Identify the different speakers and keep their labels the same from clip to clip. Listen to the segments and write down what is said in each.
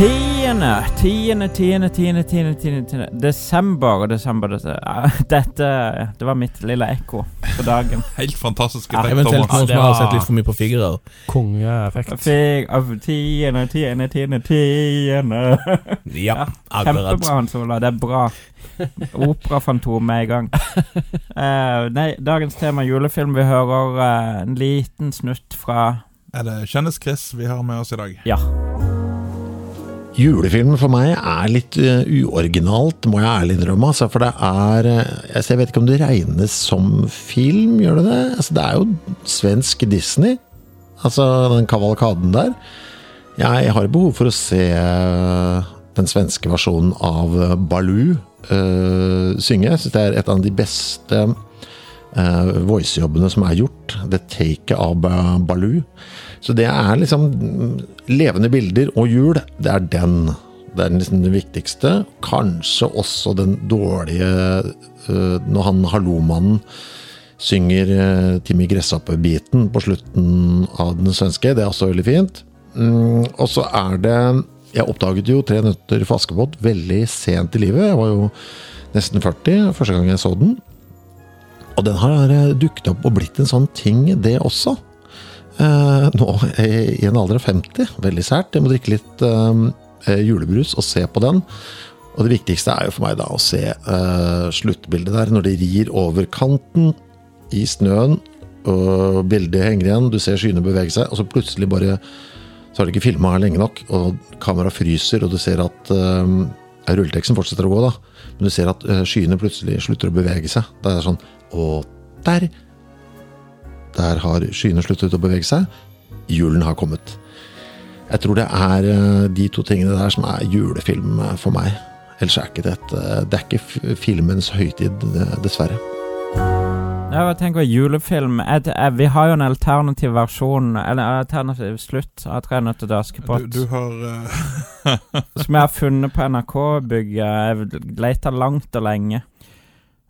Speaker 1: tiende, tiende, tiende, tiende, tiende, tiende, tiende. Desember og desember. Dette, dette Det var mitt lille ekko på dagen.
Speaker 2: Helt fantastisk
Speaker 1: Ja,
Speaker 2: effekt,
Speaker 3: Eventuelt
Speaker 2: Thomas.
Speaker 3: noen
Speaker 4: det
Speaker 3: som har
Speaker 4: var-
Speaker 3: sett litt for mye på figurer.
Speaker 1: Jeg
Speaker 4: Kongeeffekt.
Speaker 1: Fikk av tiende, tiende, tiende, tiende.
Speaker 3: Ja, akkurat.
Speaker 1: Kjempebra, Hans Ola. Det er bra. Operafantom er i gang. Eh, nei, dagens tema er julefilm. Vi hører eh, en liten snutt fra
Speaker 2: Er det Kjendis-Chris vi har med oss i dag?
Speaker 1: Ja.
Speaker 5: Julefilmen for meg er litt eh, uoriginalt, må jeg ærlig innrømme. Altså, for det er eh, altså, Jeg vet ikke om det regnes som film, gjør det det? Altså, det er jo svensk Disney, altså den kavalkaden der. Jeg har behov for å se eh, den svenske versjonen av eh, Baloo eh, synge. Jeg syns det er et av de beste eh, voicejobbene som er gjort. Det taket av Ba- Baloo. Så det er liksom mm, levende bilder og jul, det er den. Det er liksom den viktigste. Kanskje også den dårlige øh, når han hallomannen synger øh, Timmy Gresshoppe-biten på slutten av den svenske. Det er også veldig fint. Mm, og så er det Jeg oppdaget jo Tre nøtter for Askepott veldig sent i livet. Jeg var jo nesten 40 første gang jeg så den. Og den har øh, dukket opp og blitt en sånn ting, det også. Eh, nå i i en alder av 50. Veldig sært. Jeg må drikke litt eh, eh, julebrus og se på den. Og det viktigste er jo for meg da å se eh, sluttbildet der, når de rir over kanten i snøen, og bildet henger igjen, du ser skyene bevege seg, og så plutselig bare så har de ikke filma her lenge nok, og kameraet fryser, og du ser at eh, Rulleteksten fortsetter å gå, da, men du ser at eh, skyene plutselig slutter å bevege seg. Da er det sånn Og der der har skyene sluttet å bevege seg. Julen har kommet. Jeg tror det er eh, de to tingene der som er julefilm eh, for meg. Ellers er ikke det et eh, Det er ikke f- filmens høytid, eh, dessverre.
Speaker 1: Ja, jeg tenker julefilm jeg, t- jeg, Vi har jo en alternativ versjon, eller en alternativ slutt, av 'Tre nøtter til
Speaker 2: Du,
Speaker 1: Askepott',
Speaker 2: du har eh,
Speaker 1: som jeg har funnet på NRK-bygget. Jeg leter langt og lenge.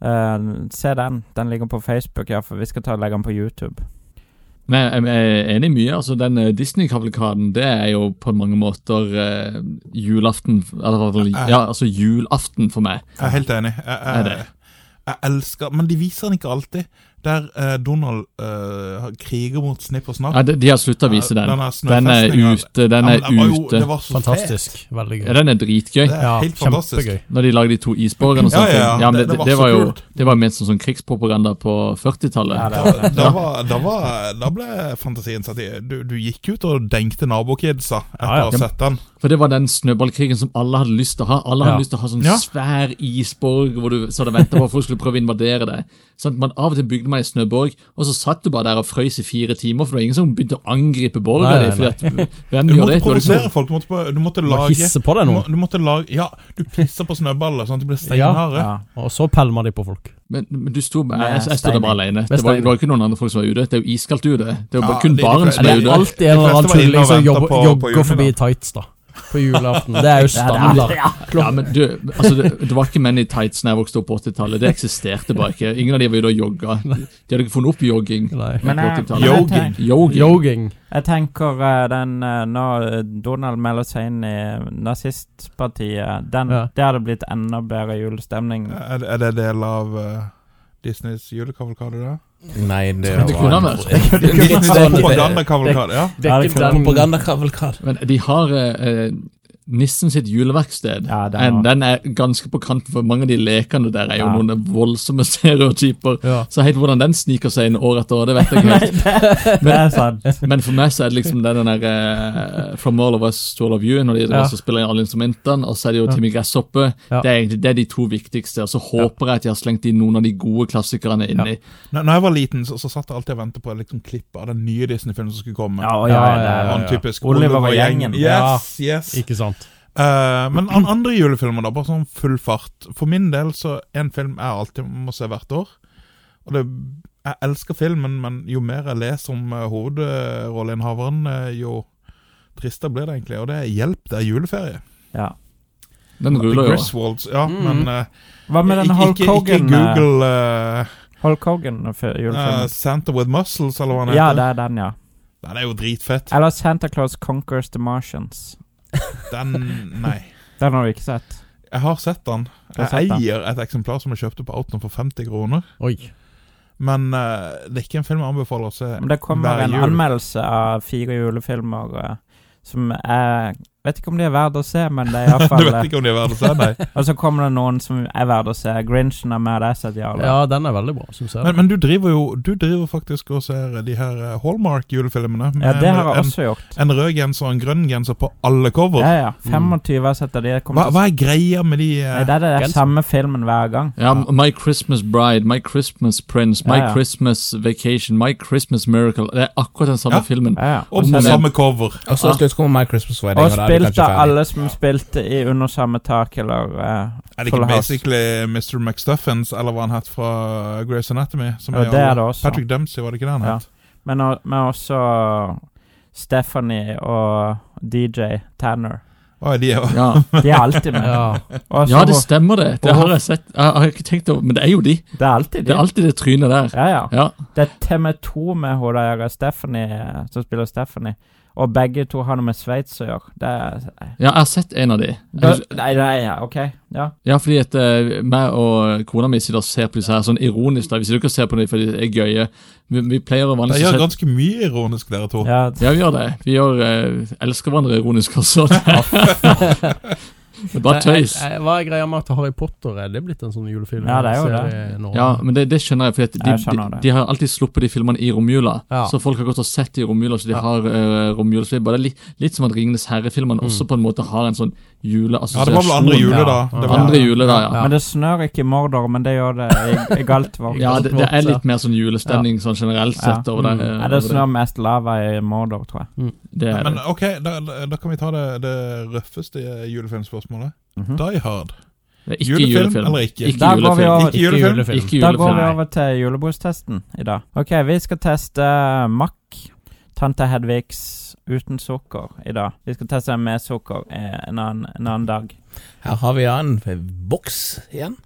Speaker 1: Eh, se den. Den ligger på Facebook, ja, for vi skal ta og legge den på YouTube.
Speaker 4: Men jeg er enig i mye. altså Den eh, Disney-kavalkaden det er jo på mange måter eh, julaften eller, i hvert fall- Ja, altså julaften for meg.
Speaker 2: Jeg er helt enig. Jeg,
Speaker 4: Er
Speaker 2: jeg,
Speaker 4: det?
Speaker 2: jeg elsker Men de viser den ikke alltid. Der eh, Donald eh, har- kriger mot Snipp og Snapp.
Speaker 4: Ja, de, de har slutta å vise den.
Speaker 2: Den er
Speaker 4: Den er ute. Den er ute.
Speaker 2: det var så fet.
Speaker 3: Fantastisk.
Speaker 4: Ja,
Speaker 3: Veldig gøy.
Speaker 4: Den er dritgøy.
Speaker 2: Det er
Speaker 3: Ja,
Speaker 2: helt fantastisk.
Speaker 3: kjempegøy.
Speaker 4: Når de lagde de to isborgerne og
Speaker 2: Ja,
Speaker 4: sånne
Speaker 2: ja, ja.
Speaker 4: Sånn ting. Ja, men
Speaker 2: Det- det
Speaker 4: det,
Speaker 2: var
Speaker 4: det, var
Speaker 2: så
Speaker 4: jo
Speaker 2: kult.
Speaker 4: det var ment som sånn krigspropaganda på 40-tallet.
Speaker 1: Ja, det var
Speaker 2: Da, da, var, da, var, da ble fantasien satt i. Du, du gikk ut og dengte nabokidsa etter
Speaker 3: Ja, ja.
Speaker 2: å ha sett den.
Speaker 4: For det var den snøballkrigen som alle hadde lyst til å ha. Alle hadde
Speaker 3: Ja.
Speaker 4: lyst til å ha sånn
Speaker 2: Ja.
Speaker 4: svær isborg hvor du så det ventet på at folk skulle prøve å invadere det. Sånn, man Av og til bygde man en snøborg, og så satt du bare der og frøys i fire timer, for det var ingen som begynte å angripe borga
Speaker 3: Nei,
Speaker 4: di.
Speaker 3: nei,
Speaker 4: fordi at- Hvem
Speaker 2: Du
Speaker 4: gjør
Speaker 2: måtte
Speaker 4: det? Du hadde
Speaker 2: provosere
Speaker 4: liksom-
Speaker 2: folk. Du måtte, på- du måtte
Speaker 3: Du må
Speaker 2: lage
Speaker 3: hisse på deg
Speaker 2: du,
Speaker 3: nå.
Speaker 2: må, du måtte lage Ja, du pisser på snøballer sånn at de blir steinharde.
Speaker 1: Ja.
Speaker 3: Og så pælmer de på folk.
Speaker 4: Men, men du sto jeg,
Speaker 1: Med
Speaker 4: jeg, jeg stod der bare alene. Det var,
Speaker 3: Steiner.
Speaker 4: det var ikke noen andre folk som var ute. Det er jo iskaldt ute. Det er jo bare
Speaker 2: Ja,
Speaker 4: kun
Speaker 2: de- de
Speaker 4: barn som
Speaker 2: pleier-
Speaker 4: er
Speaker 3: Det er
Speaker 4: ute.
Speaker 3: alltid en eller
Speaker 2: fleste
Speaker 3: annen
Speaker 2: var inne
Speaker 3: tulling
Speaker 2: og
Speaker 3: som
Speaker 2: ventet på-
Speaker 3: jobber,
Speaker 2: på
Speaker 3: jogger
Speaker 2: julen,
Speaker 3: forbi tights da på julaften. Det er jo standard.
Speaker 4: Ja, men du, altså, det, det var ikke menn i tights da jeg vokste opp på 80-tallet. Det eksisterte bare ikke. Ingen av de var ute og jogga. De hadde ikke funnet opp jogging.
Speaker 3: Nei.
Speaker 1: Men jeg,
Speaker 4: Godt i tall.
Speaker 1: men jeg, tenk,
Speaker 4: Jogging.
Speaker 3: Jogging.
Speaker 1: Jeg tenker eh, den eh, når eh, Donald melder seg inn i nazistpartiet den,
Speaker 3: Ja.
Speaker 1: Det hadde blitt enda bedre julestemning.
Speaker 2: Er, er det del av eh, Disneys julekavalkade, da?
Speaker 6: Nei, det
Speaker 4: Det kunne han vært.
Speaker 3: Litt sånn
Speaker 2: Propagandakavalkade, ja.
Speaker 1: Vekk fra
Speaker 3: propagandakavalkade.
Speaker 4: Men de har eh, eh, Nissen sitt juleverksted.
Speaker 1: Ja, den
Speaker 4: den,
Speaker 1: var-
Speaker 4: den er ganske på kanten, for mange av de lekene der er jo
Speaker 1: Ja.
Speaker 4: noen voldsomme stereotyper.
Speaker 3: Ja.
Speaker 4: Så helt hvordan den sniker seg inn år etter år, det vet jeg ikke. helt.
Speaker 1: Det er sant.
Speaker 4: Men for meg så er det liksom den den der eh, From all of us to all of you, når de
Speaker 3: Ja.
Speaker 4: også spiller inn alle instrumentene, og så er det jo Timmy Gresshoppe.
Speaker 3: Ja.
Speaker 4: Det er egentlig det er de to viktigste. Og så håper jeg at de har slengt inn noen av de gode klassikerne inni.
Speaker 2: Når når jeg var liten, så, så satt jeg alltid og ventet på liksom, klipp av den nye Disney-filmen som skulle komme.
Speaker 1: Ja, og ja,
Speaker 3: Ja,
Speaker 1: det
Speaker 3: ja,
Speaker 1: er,
Speaker 3: ja.
Speaker 2: Han typisk
Speaker 1: Oliver og gjengen.
Speaker 2: Yes, yes.
Speaker 3: Ikke sant.
Speaker 2: Eh, men an andre julefilmer, da, bare sånn full fart. For min del så en film jeg alltid må se hvert år. Og det, jeg elsker filmen, men jo mer jeg leser om uh, hovedrolleinnehaveren, eh, jo tristere blir det egentlig. Og det er 'Hjelp, det er juleferie'.
Speaker 1: ja.
Speaker 4: Den
Speaker 2: The
Speaker 4: ruller jo.
Speaker 2: Griswolds. Ja, men eh,
Speaker 1: Hva med den Hulk
Speaker 2: ikke, ikke,
Speaker 1: Hogan?
Speaker 2: ikke
Speaker 1: eh,
Speaker 2: Google eh,
Speaker 1: Hulk Hogan-julefilmen?
Speaker 2: eh, 'Santa with Muscles', eller hva den
Speaker 1: ja,
Speaker 2: heter.
Speaker 1: det er den, ja.
Speaker 2: Den er jo dritfett.
Speaker 1: Eller Santa Claus Conquers the Martians.
Speaker 2: Den Nei.
Speaker 1: Den har du ikke sett.
Speaker 2: Jeg har sett den.
Speaker 1: Du har
Speaker 2: Jeg
Speaker 1: sett den.
Speaker 2: eier et eksemplar som jeg kjøpte på Outland for 50 kroner.
Speaker 3: Oi.
Speaker 2: Men eh, det er ikke en film jeg anbefaler å se
Speaker 1: Men det kommer
Speaker 2: hver
Speaker 1: en
Speaker 2: jul.
Speaker 1: anmeldelse av fire julefilmer eh, som jeg vet ikke om de er verdt å se, men det er
Speaker 2: Du
Speaker 1: iallfall
Speaker 2: vet ikke om de er verdt å se, nei.
Speaker 1: eh, Og så kommer det noen som er verdt å se. Grinchen er med, det har jeg sett, ja. eller?
Speaker 3: Ja, den er veldig bra, syns jeg.
Speaker 2: Men, men du driver jo Du driver faktisk og ser de her eh, Hallmark-julefilmene.
Speaker 1: Ja,
Speaker 2: med
Speaker 1: det har jeg
Speaker 2: en,
Speaker 1: også gjort.
Speaker 2: en rød genser og en grønn genser på alle
Speaker 1: Ja,
Speaker 2: cover.
Speaker 1: ja. 25 har sett det. De
Speaker 2: Hva,
Speaker 1: kommer til å
Speaker 2: hva er greia med de eh,
Speaker 1: Nei, Det er det der
Speaker 3: Genser.
Speaker 1: samme filmen hver gang.
Speaker 4: Ja, My Christmas Bride, My Christmas Prince, My
Speaker 1: Ja, ja.
Speaker 4: Christmas Vacation, My Christmas Miracle. Det er akkurat den
Speaker 2: Ja.
Speaker 4: samme filmen.
Speaker 1: Ja, ja.
Speaker 2: Og
Speaker 1: Og så
Speaker 2: på
Speaker 1: er det-
Speaker 2: samme cover.
Speaker 6: Og så slutt kommer My Christmas Wedding.
Speaker 1: Og
Speaker 6: da er du kanskje
Speaker 1: spilt av
Speaker 6: ferdig.
Speaker 1: alle som spilte i Under samme tak, eller eh,
Speaker 2: Er det
Speaker 1: Full
Speaker 2: ikke
Speaker 1: House.
Speaker 2: basically Mr. McStuffins, eller hva han het fra eh, Grey's Anatomy? Som
Speaker 1: Ja, det er det også.
Speaker 2: Patrick Dempsey, var det ikke det han
Speaker 1: Ja.
Speaker 2: het?
Speaker 1: Men, o- men også Stephanie og DJ Tanner.
Speaker 2: Å, er de er
Speaker 4: Ja,
Speaker 1: De er alltid med.
Speaker 3: Ja.
Speaker 1: Også,
Speaker 4: ja det stemmer, det. Det
Speaker 1: Og-
Speaker 4: har jeg sett. Jeg har ikke tenkt over, Men det er jo de.
Speaker 1: det er alltid de.
Speaker 4: Det er alltid det trynet der.
Speaker 1: ja, ja.
Speaker 4: Ja.
Speaker 1: Det er TV2 med hun der Stephanie, eh, som spiller Stephanie. Og begge to har noe med Sveits å gjøre. Det er
Speaker 4: ja, jeg har sett en av de.
Speaker 1: Nei, nei, ja, OK. Ja.
Speaker 4: Ja, fordi at eh, meg og kona mi sitter og ser på disse her sånn ironisk. da. Vi sitter ikke og ser på dem fordi de er gøye. Vi, vi pleier å
Speaker 2: De
Speaker 4: vanligvis å
Speaker 2: gjør
Speaker 4: se
Speaker 2: ganske mye ironisk, dere to.
Speaker 1: ja.
Speaker 4: Ja, vi gjør det. Vi gjør, eh, elsker hverandre ironisk også. Det er bare tøys.
Speaker 3: Eh, eh, Hva er greia med at Harry Potter er det blitt en sånn julefilm?
Speaker 1: Ja, det er jo det.
Speaker 3: Serie nå?
Speaker 4: Ja, men det, det skjønner jeg, for de,
Speaker 1: Jeg skjønner
Speaker 4: de,
Speaker 1: det.
Speaker 4: de har alltid sluppet de filmene i romjula.
Speaker 3: Ja.
Speaker 4: Så folk har gått og sett de i romjula, så de
Speaker 3: Ja.
Speaker 4: har uh, romjulsfilmer. Det er litt, litt som at Ringenes herre-filmene
Speaker 1: Mm.
Speaker 4: også på en måte har en sånn
Speaker 2: Ja, det var vel andre
Speaker 4: juleassosiasjon.
Speaker 2: jule, da.
Speaker 3: Ja.
Speaker 2: Det var,
Speaker 4: Andre jule, da, ja.
Speaker 1: Men det snør ikke i Mordor, men det gjør det i, i Galtvort.
Speaker 4: Ja, det, det er litt mer sånn julestemning sånn generelt
Speaker 1: Ja. Mm.
Speaker 4: sett over det. eh,
Speaker 1: Ja, det
Speaker 4: over
Speaker 1: snør mest lava i Mordor, tror jeg.
Speaker 4: Det er
Speaker 2: Men
Speaker 4: det.
Speaker 2: ok, da, da kan vi ta det, det røffeste julefilmspørsmålet.
Speaker 1: Mhm.
Speaker 2: Die Hard.
Speaker 4: Det er ikke
Speaker 2: julefilm
Speaker 4: julefilm.
Speaker 2: eller ikke?
Speaker 4: Ikke
Speaker 1: Der går vi
Speaker 4: julefilm.
Speaker 1: over.
Speaker 2: Ikke julefilm.
Speaker 4: Ikke
Speaker 1: Da går vi
Speaker 4: julefilm.
Speaker 1: over til julebordstesten i dag. Ok, vi skal teste Mack, tante Hedvigs uten sukker i dag. Vi skal teste den med sukker eh, en annen, en annen dag.
Speaker 6: Her har vi ja en boks igjen.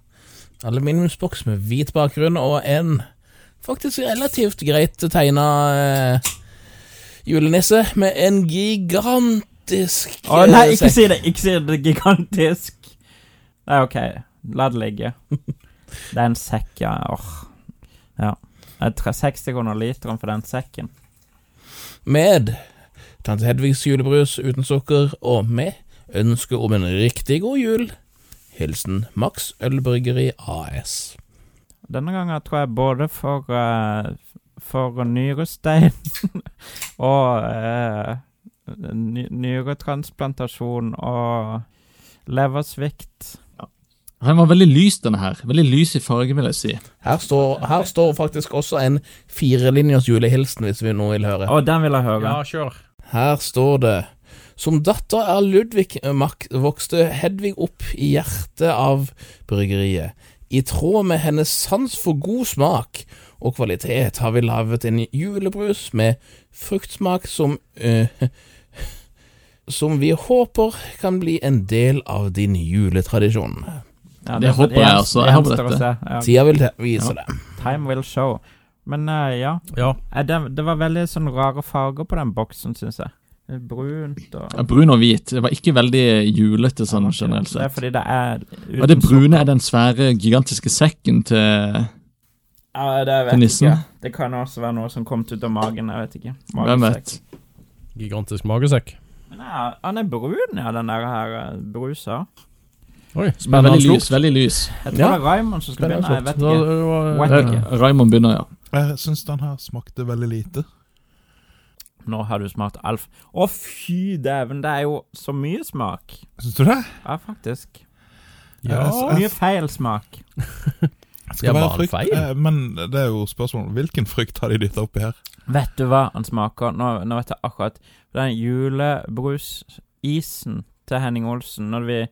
Speaker 6: Aluminiumsboks med hvit bakgrunn og en faktisk relativt greit tegna eh, julenisse med en gigantisk
Speaker 1: Å nei,
Speaker 6: eh,
Speaker 1: ikke
Speaker 6: sekk.
Speaker 1: si det! Ikke si det! Det er gigantisk! Nei, ok. La det ligge. Det er en sekk, ja. Åh. Ja. Det er tre- 60 kroner literen for den sekken.
Speaker 6: Med Tante Hedvigs julebrus uten sukker og med ønske om en riktig god jul. Hilsen Max Ølbryggeri AS.
Speaker 1: Denne gangen tror jeg både for eh, For nyrestein og eh, ny nyretransplantasjon og leversvikt.
Speaker 4: Den var veldig lys, denne her. Veldig lys i farge, vil jeg si.
Speaker 6: Her står, her står faktisk også en firelinjers julehilsen, hvis vi nå vil høre.
Speaker 1: Å, den vil jeg høre.
Speaker 3: Ja, kjør.
Speaker 6: Her står det Som datter er Ludvig Mack vokste Hedvig opp i hjertet av bryggeriet. I tråd med hennes sans for god smak og kvalitet har vi laget en julebrus med fruktsmak som eh, Som vi håper kan bli en del av din juletradisjon.
Speaker 1: Ja,
Speaker 4: Det håper jeg, altså. Jeg håper
Speaker 1: gjenstår å se.
Speaker 4: dette.
Speaker 1: Ja.
Speaker 6: Tida vil te- vise det.
Speaker 1: Time will show. Men eh, ja,
Speaker 3: Ja.
Speaker 1: Eh, det, det var veldig sånn rare farger på den boksen, syns jeg. Brunt og
Speaker 4: Ja, brun og hvit. Det var ikke veldig julete sånn generelt
Speaker 1: Det er
Speaker 4: sett.
Speaker 1: fordi det er uten
Speaker 4: Og det brune er den svære, gigantiske sekken til
Speaker 1: Ja, det vet
Speaker 4: Til nissen.
Speaker 1: jeg ikke. Det kan også være noe som kom ut av magen. Jeg vet ikke.
Speaker 4: Hvem vet?
Speaker 3: Gigantisk magesekk.
Speaker 1: Men ja, han er brun, ja, den der her eh, brusa.
Speaker 3: Oi,
Speaker 4: Men
Speaker 3: spennende
Speaker 4: veldig lys.
Speaker 3: slukt.
Speaker 4: veldig lys.
Speaker 1: Jeg tror
Speaker 6: Ja.
Speaker 1: det er Raymond som skulle
Speaker 6: Den er
Speaker 1: begynne. Jeg
Speaker 6: flott.
Speaker 1: vet
Speaker 3: Da-
Speaker 1: ikke.
Speaker 3: da-
Speaker 1: Wet.
Speaker 4: Eh, Raymond begynner, ja.
Speaker 2: Jeg syns den her smakte veldig lite.
Speaker 1: Nå har du smakt Alf. Å, fy dæven, det er jo så mye smak.
Speaker 2: Syns du det?
Speaker 1: Ja, faktisk.
Speaker 3: Ja.
Speaker 2: Jeg- jeg-
Speaker 1: Mye feil smak.
Speaker 2: jeg
Speaker 3: Ja,
Speaker 2: skal være
Speaker 3: var det
Speaker 2: frykt,
Speaker 3: feil?
Speaker 2: eh, men det er jo spørsmålet hvilken frykt har de dytta oppi her?
Speaker 1: Vet du hva han smaker? Nå, nå vet jeg akkurat. Den julebrusisen til Henning Olsen, når vi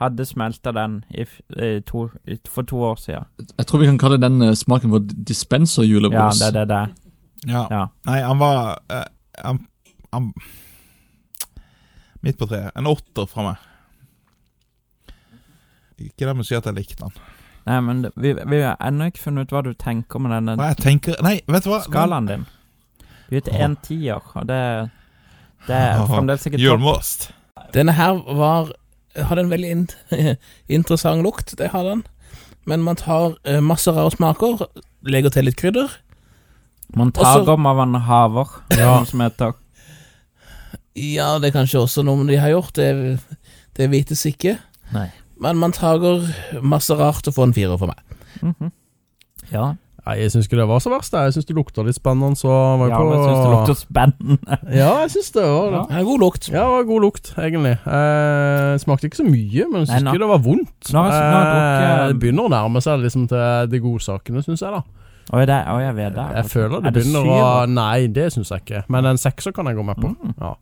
Speaker 1: hadde smelta den i, f- i to, i, for to år siden.
Speaker 4: Jeg tror vi kan kalle den eh, smaken for
Speaker 1: Ja,
Speaker 4: dispenser-julebrus.
Speaker 1: det er det der.
Speaker 2: Ja.
Speaker 1: Ja.
Speaker 2: Nei, han var eh, han, han, Midt på treet. En åtter fra meg. Ikke det med å si at jeg likte han.
Speaker 1: Nei, men det- vi, vi har ennå ikke funnet ut hva du tenker med denne
Speaker 2: Nei, jeg tenker Nei, vet du hva?
Speaker 1: skalaen din. Du er ute en tier, og det, det er fremdeles ikke topp.
Speaker 2: Julmost.
Speaker 6: Denne her var hadde en veldig in interessant lukt, det hadde den. Men man tar eh, masse rare smaker, legger til litt krydder,
Speaker 1: Man
Speaker 6: Også-
Speaker 1: tar om av en haver, noe som heter.
Speaker 6: Ja, det er kanskje også noe de har gjort, det, det vites ikke.
Speaker 1: Nei.
Speaker 6: Men man tager masse rart og får en firer for meg.
Speaker 1: Mhm. Ja,
Speaker 3: Nei, jeg syns ikke det var så verst. Jeg syns det lukta litt spennende. Så var jeg
Speaker 1: ja
Speaker 3: på
Speaker 1: men jeg syns det lukter spennende.
Speaker 3: Ja, jeg syns det var det.
Speaker 1: Ja.
Speaker 6: Det er god lukt.
Speaker 3: Ja, det var god lukt, egentlig. Eh, smakte ikke så mye, men jeg syns
Speaker 1: Nei, nå-
Speaker 3: ikke det var vondt.
Speaker 1: Nå har jeg- nå har jeg drukket-
Speaker 3: Eh, det begynner å nærme seg liksom til de godsakene, syns jeg, da.
Speaker 1: Oi, det, oi, jeg vet det.
Speaker 3: Jeg føler det
Speaker 1: Er det
Speaker 3: begynner å
Speaker 1: syre?
Speaker 3: Nei, det syns jeg ikke. Men en sekser kan jeg gå med på.
Speaker 1: Mm.
Speaker 3: Ja.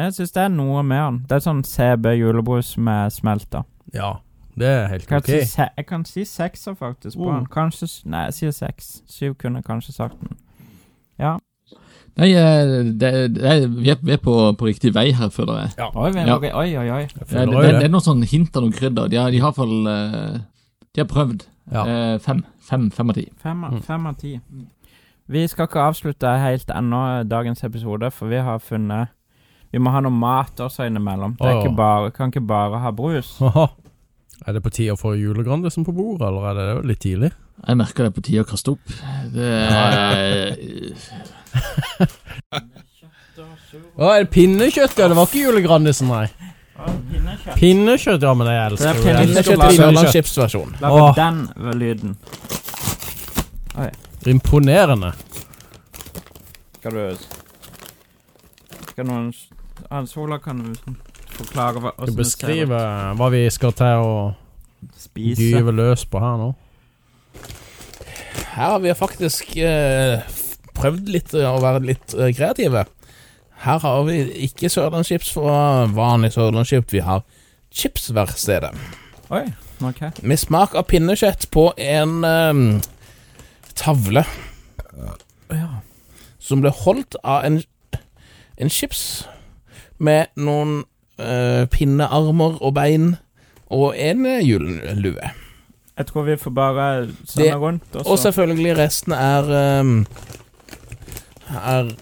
Speaker 1: Jeg syns det er noe med den. Det er sånn CB julebrus med smelta.
Speaker 3: ja. Det er helt
Speaker 1: Kan
Speaker 3: ok.
Speaker 1: jeg, si, se- jeg kan si sekser faktisk på
Speaker 3: Mm.
Speaker 1: den. Kanskje s- Nei, jeg sier seks. Syv kunne jeg kanskje sagt den.
Speaker 4: Nei, eh, det, det, vi er, vi er på, på riktig vei her, føler jeg.
Speaker 1: Oi, vi,
Speaker 4: Ja.
Speaker 1: oi, oi, oi, oi.
Speaker 3: Jeg
Speaker 4: Det,
Speaker 3: føler
Speaker 4: det,
Speaker 3: jo
Speaker 4: det
Speaker 3: det.
Speaker 4: er noen sånn hint av noen krydder. De har, de har i hvert fall eh, De har prøvd.
Speaker 3: Ja.
Speaker 4: Eh, fem. Fem, fem av ti.
Speaker 1: Fem, av-
Speaker 3: Mm.
Speaker 1: fem av ti. Vi skal ikke avslutte helt ennå eh, dagens episode, for vi har funnet Vi må ha noe mat også innimellom. Det er
Speaker 3: Åh.
Speaker 1: ikke bare, kan ikke bare ha brus.
Speaker 3: Haha. Er det på tide å få julegrandisen på bordet, eller er det jo litt tidlig?
Speaker 4: Jeg merker det er på tide å kaste opp. Det eh, er
Speaker 3: Å, er det pinnekjøtt? Ja, det var ikke julegrandisen, nei. Pinnekjøtt, ja, men jeg elsker
Speaker 1: Det er
Speaker 3: jeg elsker
Speaker 1: pinnekjøtt.
Speaker 6: Pinnekjøtt i
Speaker 1: lage-
Speaker 6: Sørlandschips-versjon.
Speaker 1: La
Speaker 3: Åh.
Speaker 1: den lyden.
Speaker 3: det. Imponerende.
Speaker 1: Skal du Skal noen Han Sola kan du liksom forklare hva
Speaker 3: Skal
Speaker 1: hvordan det ser
Speaker 3: beskrive hva vi skal til å
Speaker 1: ut. Spise.
Speaker 3: gyve løs på her nå.
Speaker 6: Her har vi faktisk eh, f- prøvd litt eh, å være litt eh, kreative. Her har vi ikke Sørlandschips fra vanlig Sørlandschips, vi har chipsverkstedet.
Speaker 1: Oi, ok.
Speaker 6: Med smak av pinnekjøtt på en eh, tavle.
Speaker 1: Ja.
Speaker 6: som ble holdt av en, en chips med noen eh, pinnearmer og bein og en eh, julelue.
Speaker 1: Jeg tror vi får bare sende
Speaker 6: Det-
Speaker 1: rundt, og
Speaker 6: Og
Speaker 1: så
Speaker 6: selvfølgelig resten er eh, er,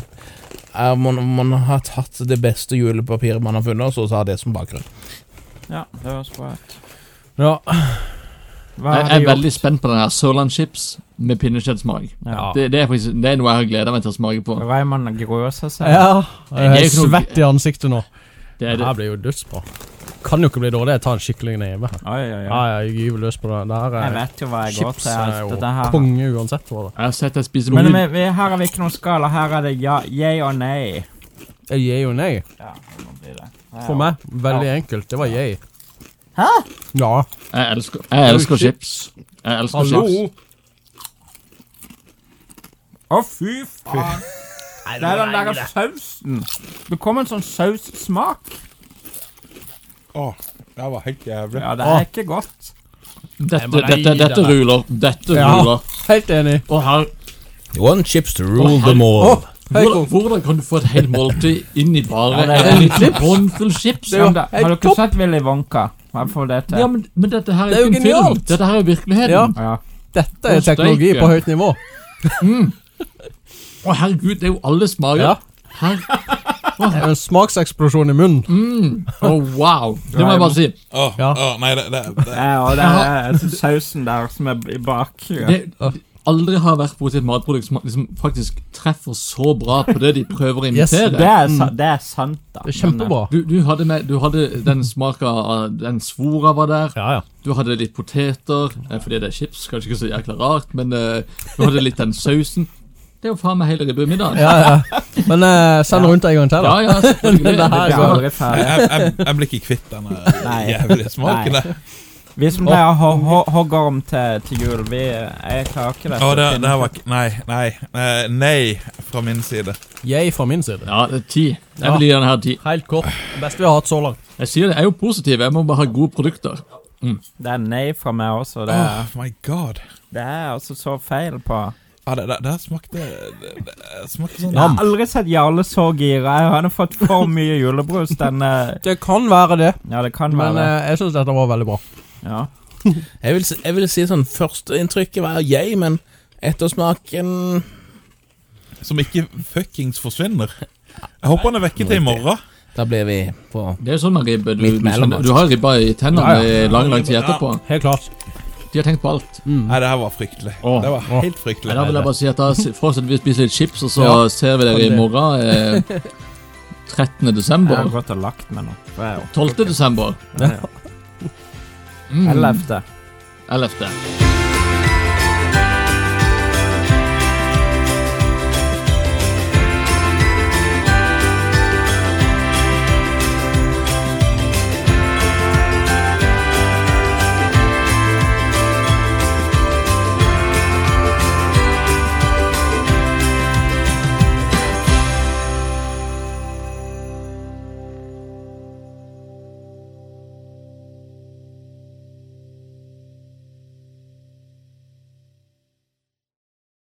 Speaker 6: er man, man har tatt det beste julepapiret man har funnet, og så har det som bakgrunn.
Speaker 1: Ja, det høres bra ut.
Speaker 3: Ja,
Speaker 1: Hva
Speaker 4: Jeg,
Speaker 1: har
Speaker 4: jeg
Speaker 1: du
Speaker 4: er
Speaker 1: gjort?
Speaker 4: veldig spent på den her Sørlandschips med pinnekjøttsmak.
Speaker 1: Ja.
Speaker 4: Det, det, er faktisk- det er noe jeg har gleda meg til å smake på.
Speaker 1: Raymond gruer seg selv.
Speaker 3: ja.
Speaker 4: Det er
Speaker 3: Jeg er
Speaker 4: ikke noe-
Speaker 3: svett i ansiktet nå.
Speaker 4: Det
Speaker 3: Det
Speaker 4: er det.
Speaker 3: her blir jo dødsbra. Kan jo ikke bli dårlig. Jeg tar en skikkelig neve her.
Speaker 1: Oi, oi,
Speaker 3: Ja,
Speaker 1: oi.
Speaker 3: jeg gyver løs på det. Det
Speaker 1: Jeg
Speaker 3: her er
Speaker 1: vet jo hva jeg går
Speaker 3: chips
Speaker 1: til.
Speaker 3: er
Speaker 1: altså,
Speaker 3: jo
Speaker 1: Dette her.
Speaker 3: konge uansett hva det
Speaker 4: Jeg har sett deg spise
Speaker 1: Men vi,
Speaker 4: mange
Speaker 1: vi, her har vi ikke noen skala. Her er det ja, yay og nei.
Speaker 3: er. Jeg gir jo nei.
Speaker 1: Ja, det må bli det.
Speaker 3: For meg, veldig enkelt. Det var jeg.
Speaker 1: Hæ?
Speaker 3: Ja.
Speaker 4: Jeg elsker, jeg elsker chips. Jeg elsker
Speaker 3: Hallo.
Speaker 4: chips.
Speaker 1: Å, fy faen. Det er den der sausen. Det kom en sånn saussmak.
Speaker 2: Åh, det var helt jævlig.
Speaker 1: Ja, det er ikke godt.
Speaker 4: Dette,
Speaker 3: Jeg må
Speaker 4: dette,
Speaker 3: gi
Speaker 4: dette
Speaker 3: deg.
Speaker 4: ruler. Dette
Speaker 3: Ja.
Speaker 4: ruler.
Speaker 3: Helt enig.
Speaker 4: Og her,
Speaker 6: One chips to rule them
Speaker 3: Å,
Speaker 6: all.
Speaker 3: høyt
Speaker 4: hvordan, hvordan kan du få et helt måltid inn i bare
Speaker 1: Ja, det er
Speaker 4: en liten håndfull chips?
Speaker 1: Ja, men da-
Speaker 3: helt
Speaker 1: Har du ikke
Speaker 3: topp.
Speaker 1: sett Willy Wonka? Hva får det til?
Speaker 4: Ja, men, men dette her
Speaker 3: Det
Speaker 4: er
Speaker 3: er jo
Speaker 4: ikke en film.
Speaker 3: genialt.
Speaker 4: Dette her er virkeligheten.
Speaker 3: Ja.
Speaker 1: Ja.
Speaker 3: Dette er
Speaker 4: Å, steike.
Speaker 3: teknologi på høyt nivå.
Speaker 4: Å, herregud, det er jo alle smaker.
Speaker 3: Ja.
Speaker 4: Her,
Speaker 3: Det er en smakseksplosjon i munnen.
Speaker 4: Å, wow. Det må jeg bare si.
Speaker 2: Åh,
Speaker 3: Ja.
Speaker 2: åh, nei, det, det, det.
Speaker 1: Ja, og det er altså sausen der som er i bak.
Speaker 4: Det, aldri har vært borti et matprodukt som liksom faktisk treffer så bra på det de prøver å
Speaker 3: Yes,
Speaker 4: imitere.
Speaker 1: Det er, sa- det er sant, da.
Speaker 3: Det er kjempebra.
Speaker 4: Du, du, hadde med, du hadde den smaka av Den svora var der.
Speaker 3: Ja, ja.
Speaker 4: Du hadde litt poteter, eh, fordi det er chips, kanskje ikke så jækla rart, men eh, du hadde litt den sausen. Det er jo faen meg hele ribbemiddagen.
Speaker 3: ja, ja. Men eh, send rundt en gang til, da.
Speaker 4: Ja, ja, selvfølgelig.
Speaker 3: Men det her
Speaker 1: Men eh, det blir
Speaker 3: går-
Speaker 1: aldri ferdig.
Speaker 2: Jeg, jeg, jeg blir ikke kvitt denne
Speaker 1: Nei.
Speaker 2: jævlige smaken.
Speaker 1: Nei.
Speaker 2: der.
Speaker 1: Vi som pleier å ha ho- hoggorm til, til jul, vi eh, Jeg klarer ikke
Speaker 2: Åh, det,
Speaker 1: dette.
Speaker 2: det her var ikke Nei, nei. eh, Nei fra min side.
Speaker 3: Jeg fra min side.
Speaker 4: Ja, det er ti. Jeg vil gi den her ti.
Speaker 3: Helt kort. Beste vi har hatt så langt.
Speaker 4: Jeg sier det, jeg er jo positiv. Jeg må bare ha gode produkter.
Speaker 1: Det er nei fra meg også. Det, er-
Speaker 2: Åh, my god.
Speaker 1: det er altså så feil på
Speaker 2: Ja, det, det, det her smakte det, det smakte sånn
Speaker 1: Jeg har aldri sett Jarle så gira. Jeg har fått for mye julebrus. Den eh,
Speaker 3: Det kan være det,
Speaker 1: Ja, det kan være
Speaker 3: men
Speaker 1: det.
Speaker 3: eh, jeg syns dette var veldig bra.
Speaker 1: Ja.
Speaker 6: Jeg vil, si- jeg vil si sånn Førsteinntrykket var jeg, men ettersmaken
Speaker 2: Som ikke fuckings forsvinner. Jeg håper han er vekke til i morgen.
Speaker 6: Da ble vi på
Speaker 4: Det er jo sånn med ribbe. Du,
Speaker 6: Midt
Speaker 4: du,
Speaker 6: mellom
Speaker 4: skjønner- du har ribba i tennene
Speaker 3: Ja, ja.
Speaker 4: i lang, lang tid etterpå.
Speaker 3: Helt klart.
Speaker 4: De har tenkt på alt.
Speaker 3: Mm.
Speaker 2: Nei, det her var fryktelig.
Speaker 4: Åh.
Speaker 2: Det var helt
Speaker 3: Åh.
Speaker 4: Nei,
Speaker 2: fryktelig.
Speaker 4: da vil jeg bare si at da s- fortsetter vi å spise litt chips, og så
Speaker 2: Ja.
Speaker 4: ser vi dere i
Speaker 2: Kan det.
Speaker 4: morgen. Eh,
Speaker 1: Jeg
Speaker 4: 13.
Speaker 1: har
Speaker 4: desember.
Speaker 1: gått og lagt meg nå. for jeg er oppe.
Speaker 4: 12. desember.
Speaker 1: Ja, ja.
Speaker 4: Mm.
Speaker 1: Ellevte.
Speaker 4: 11.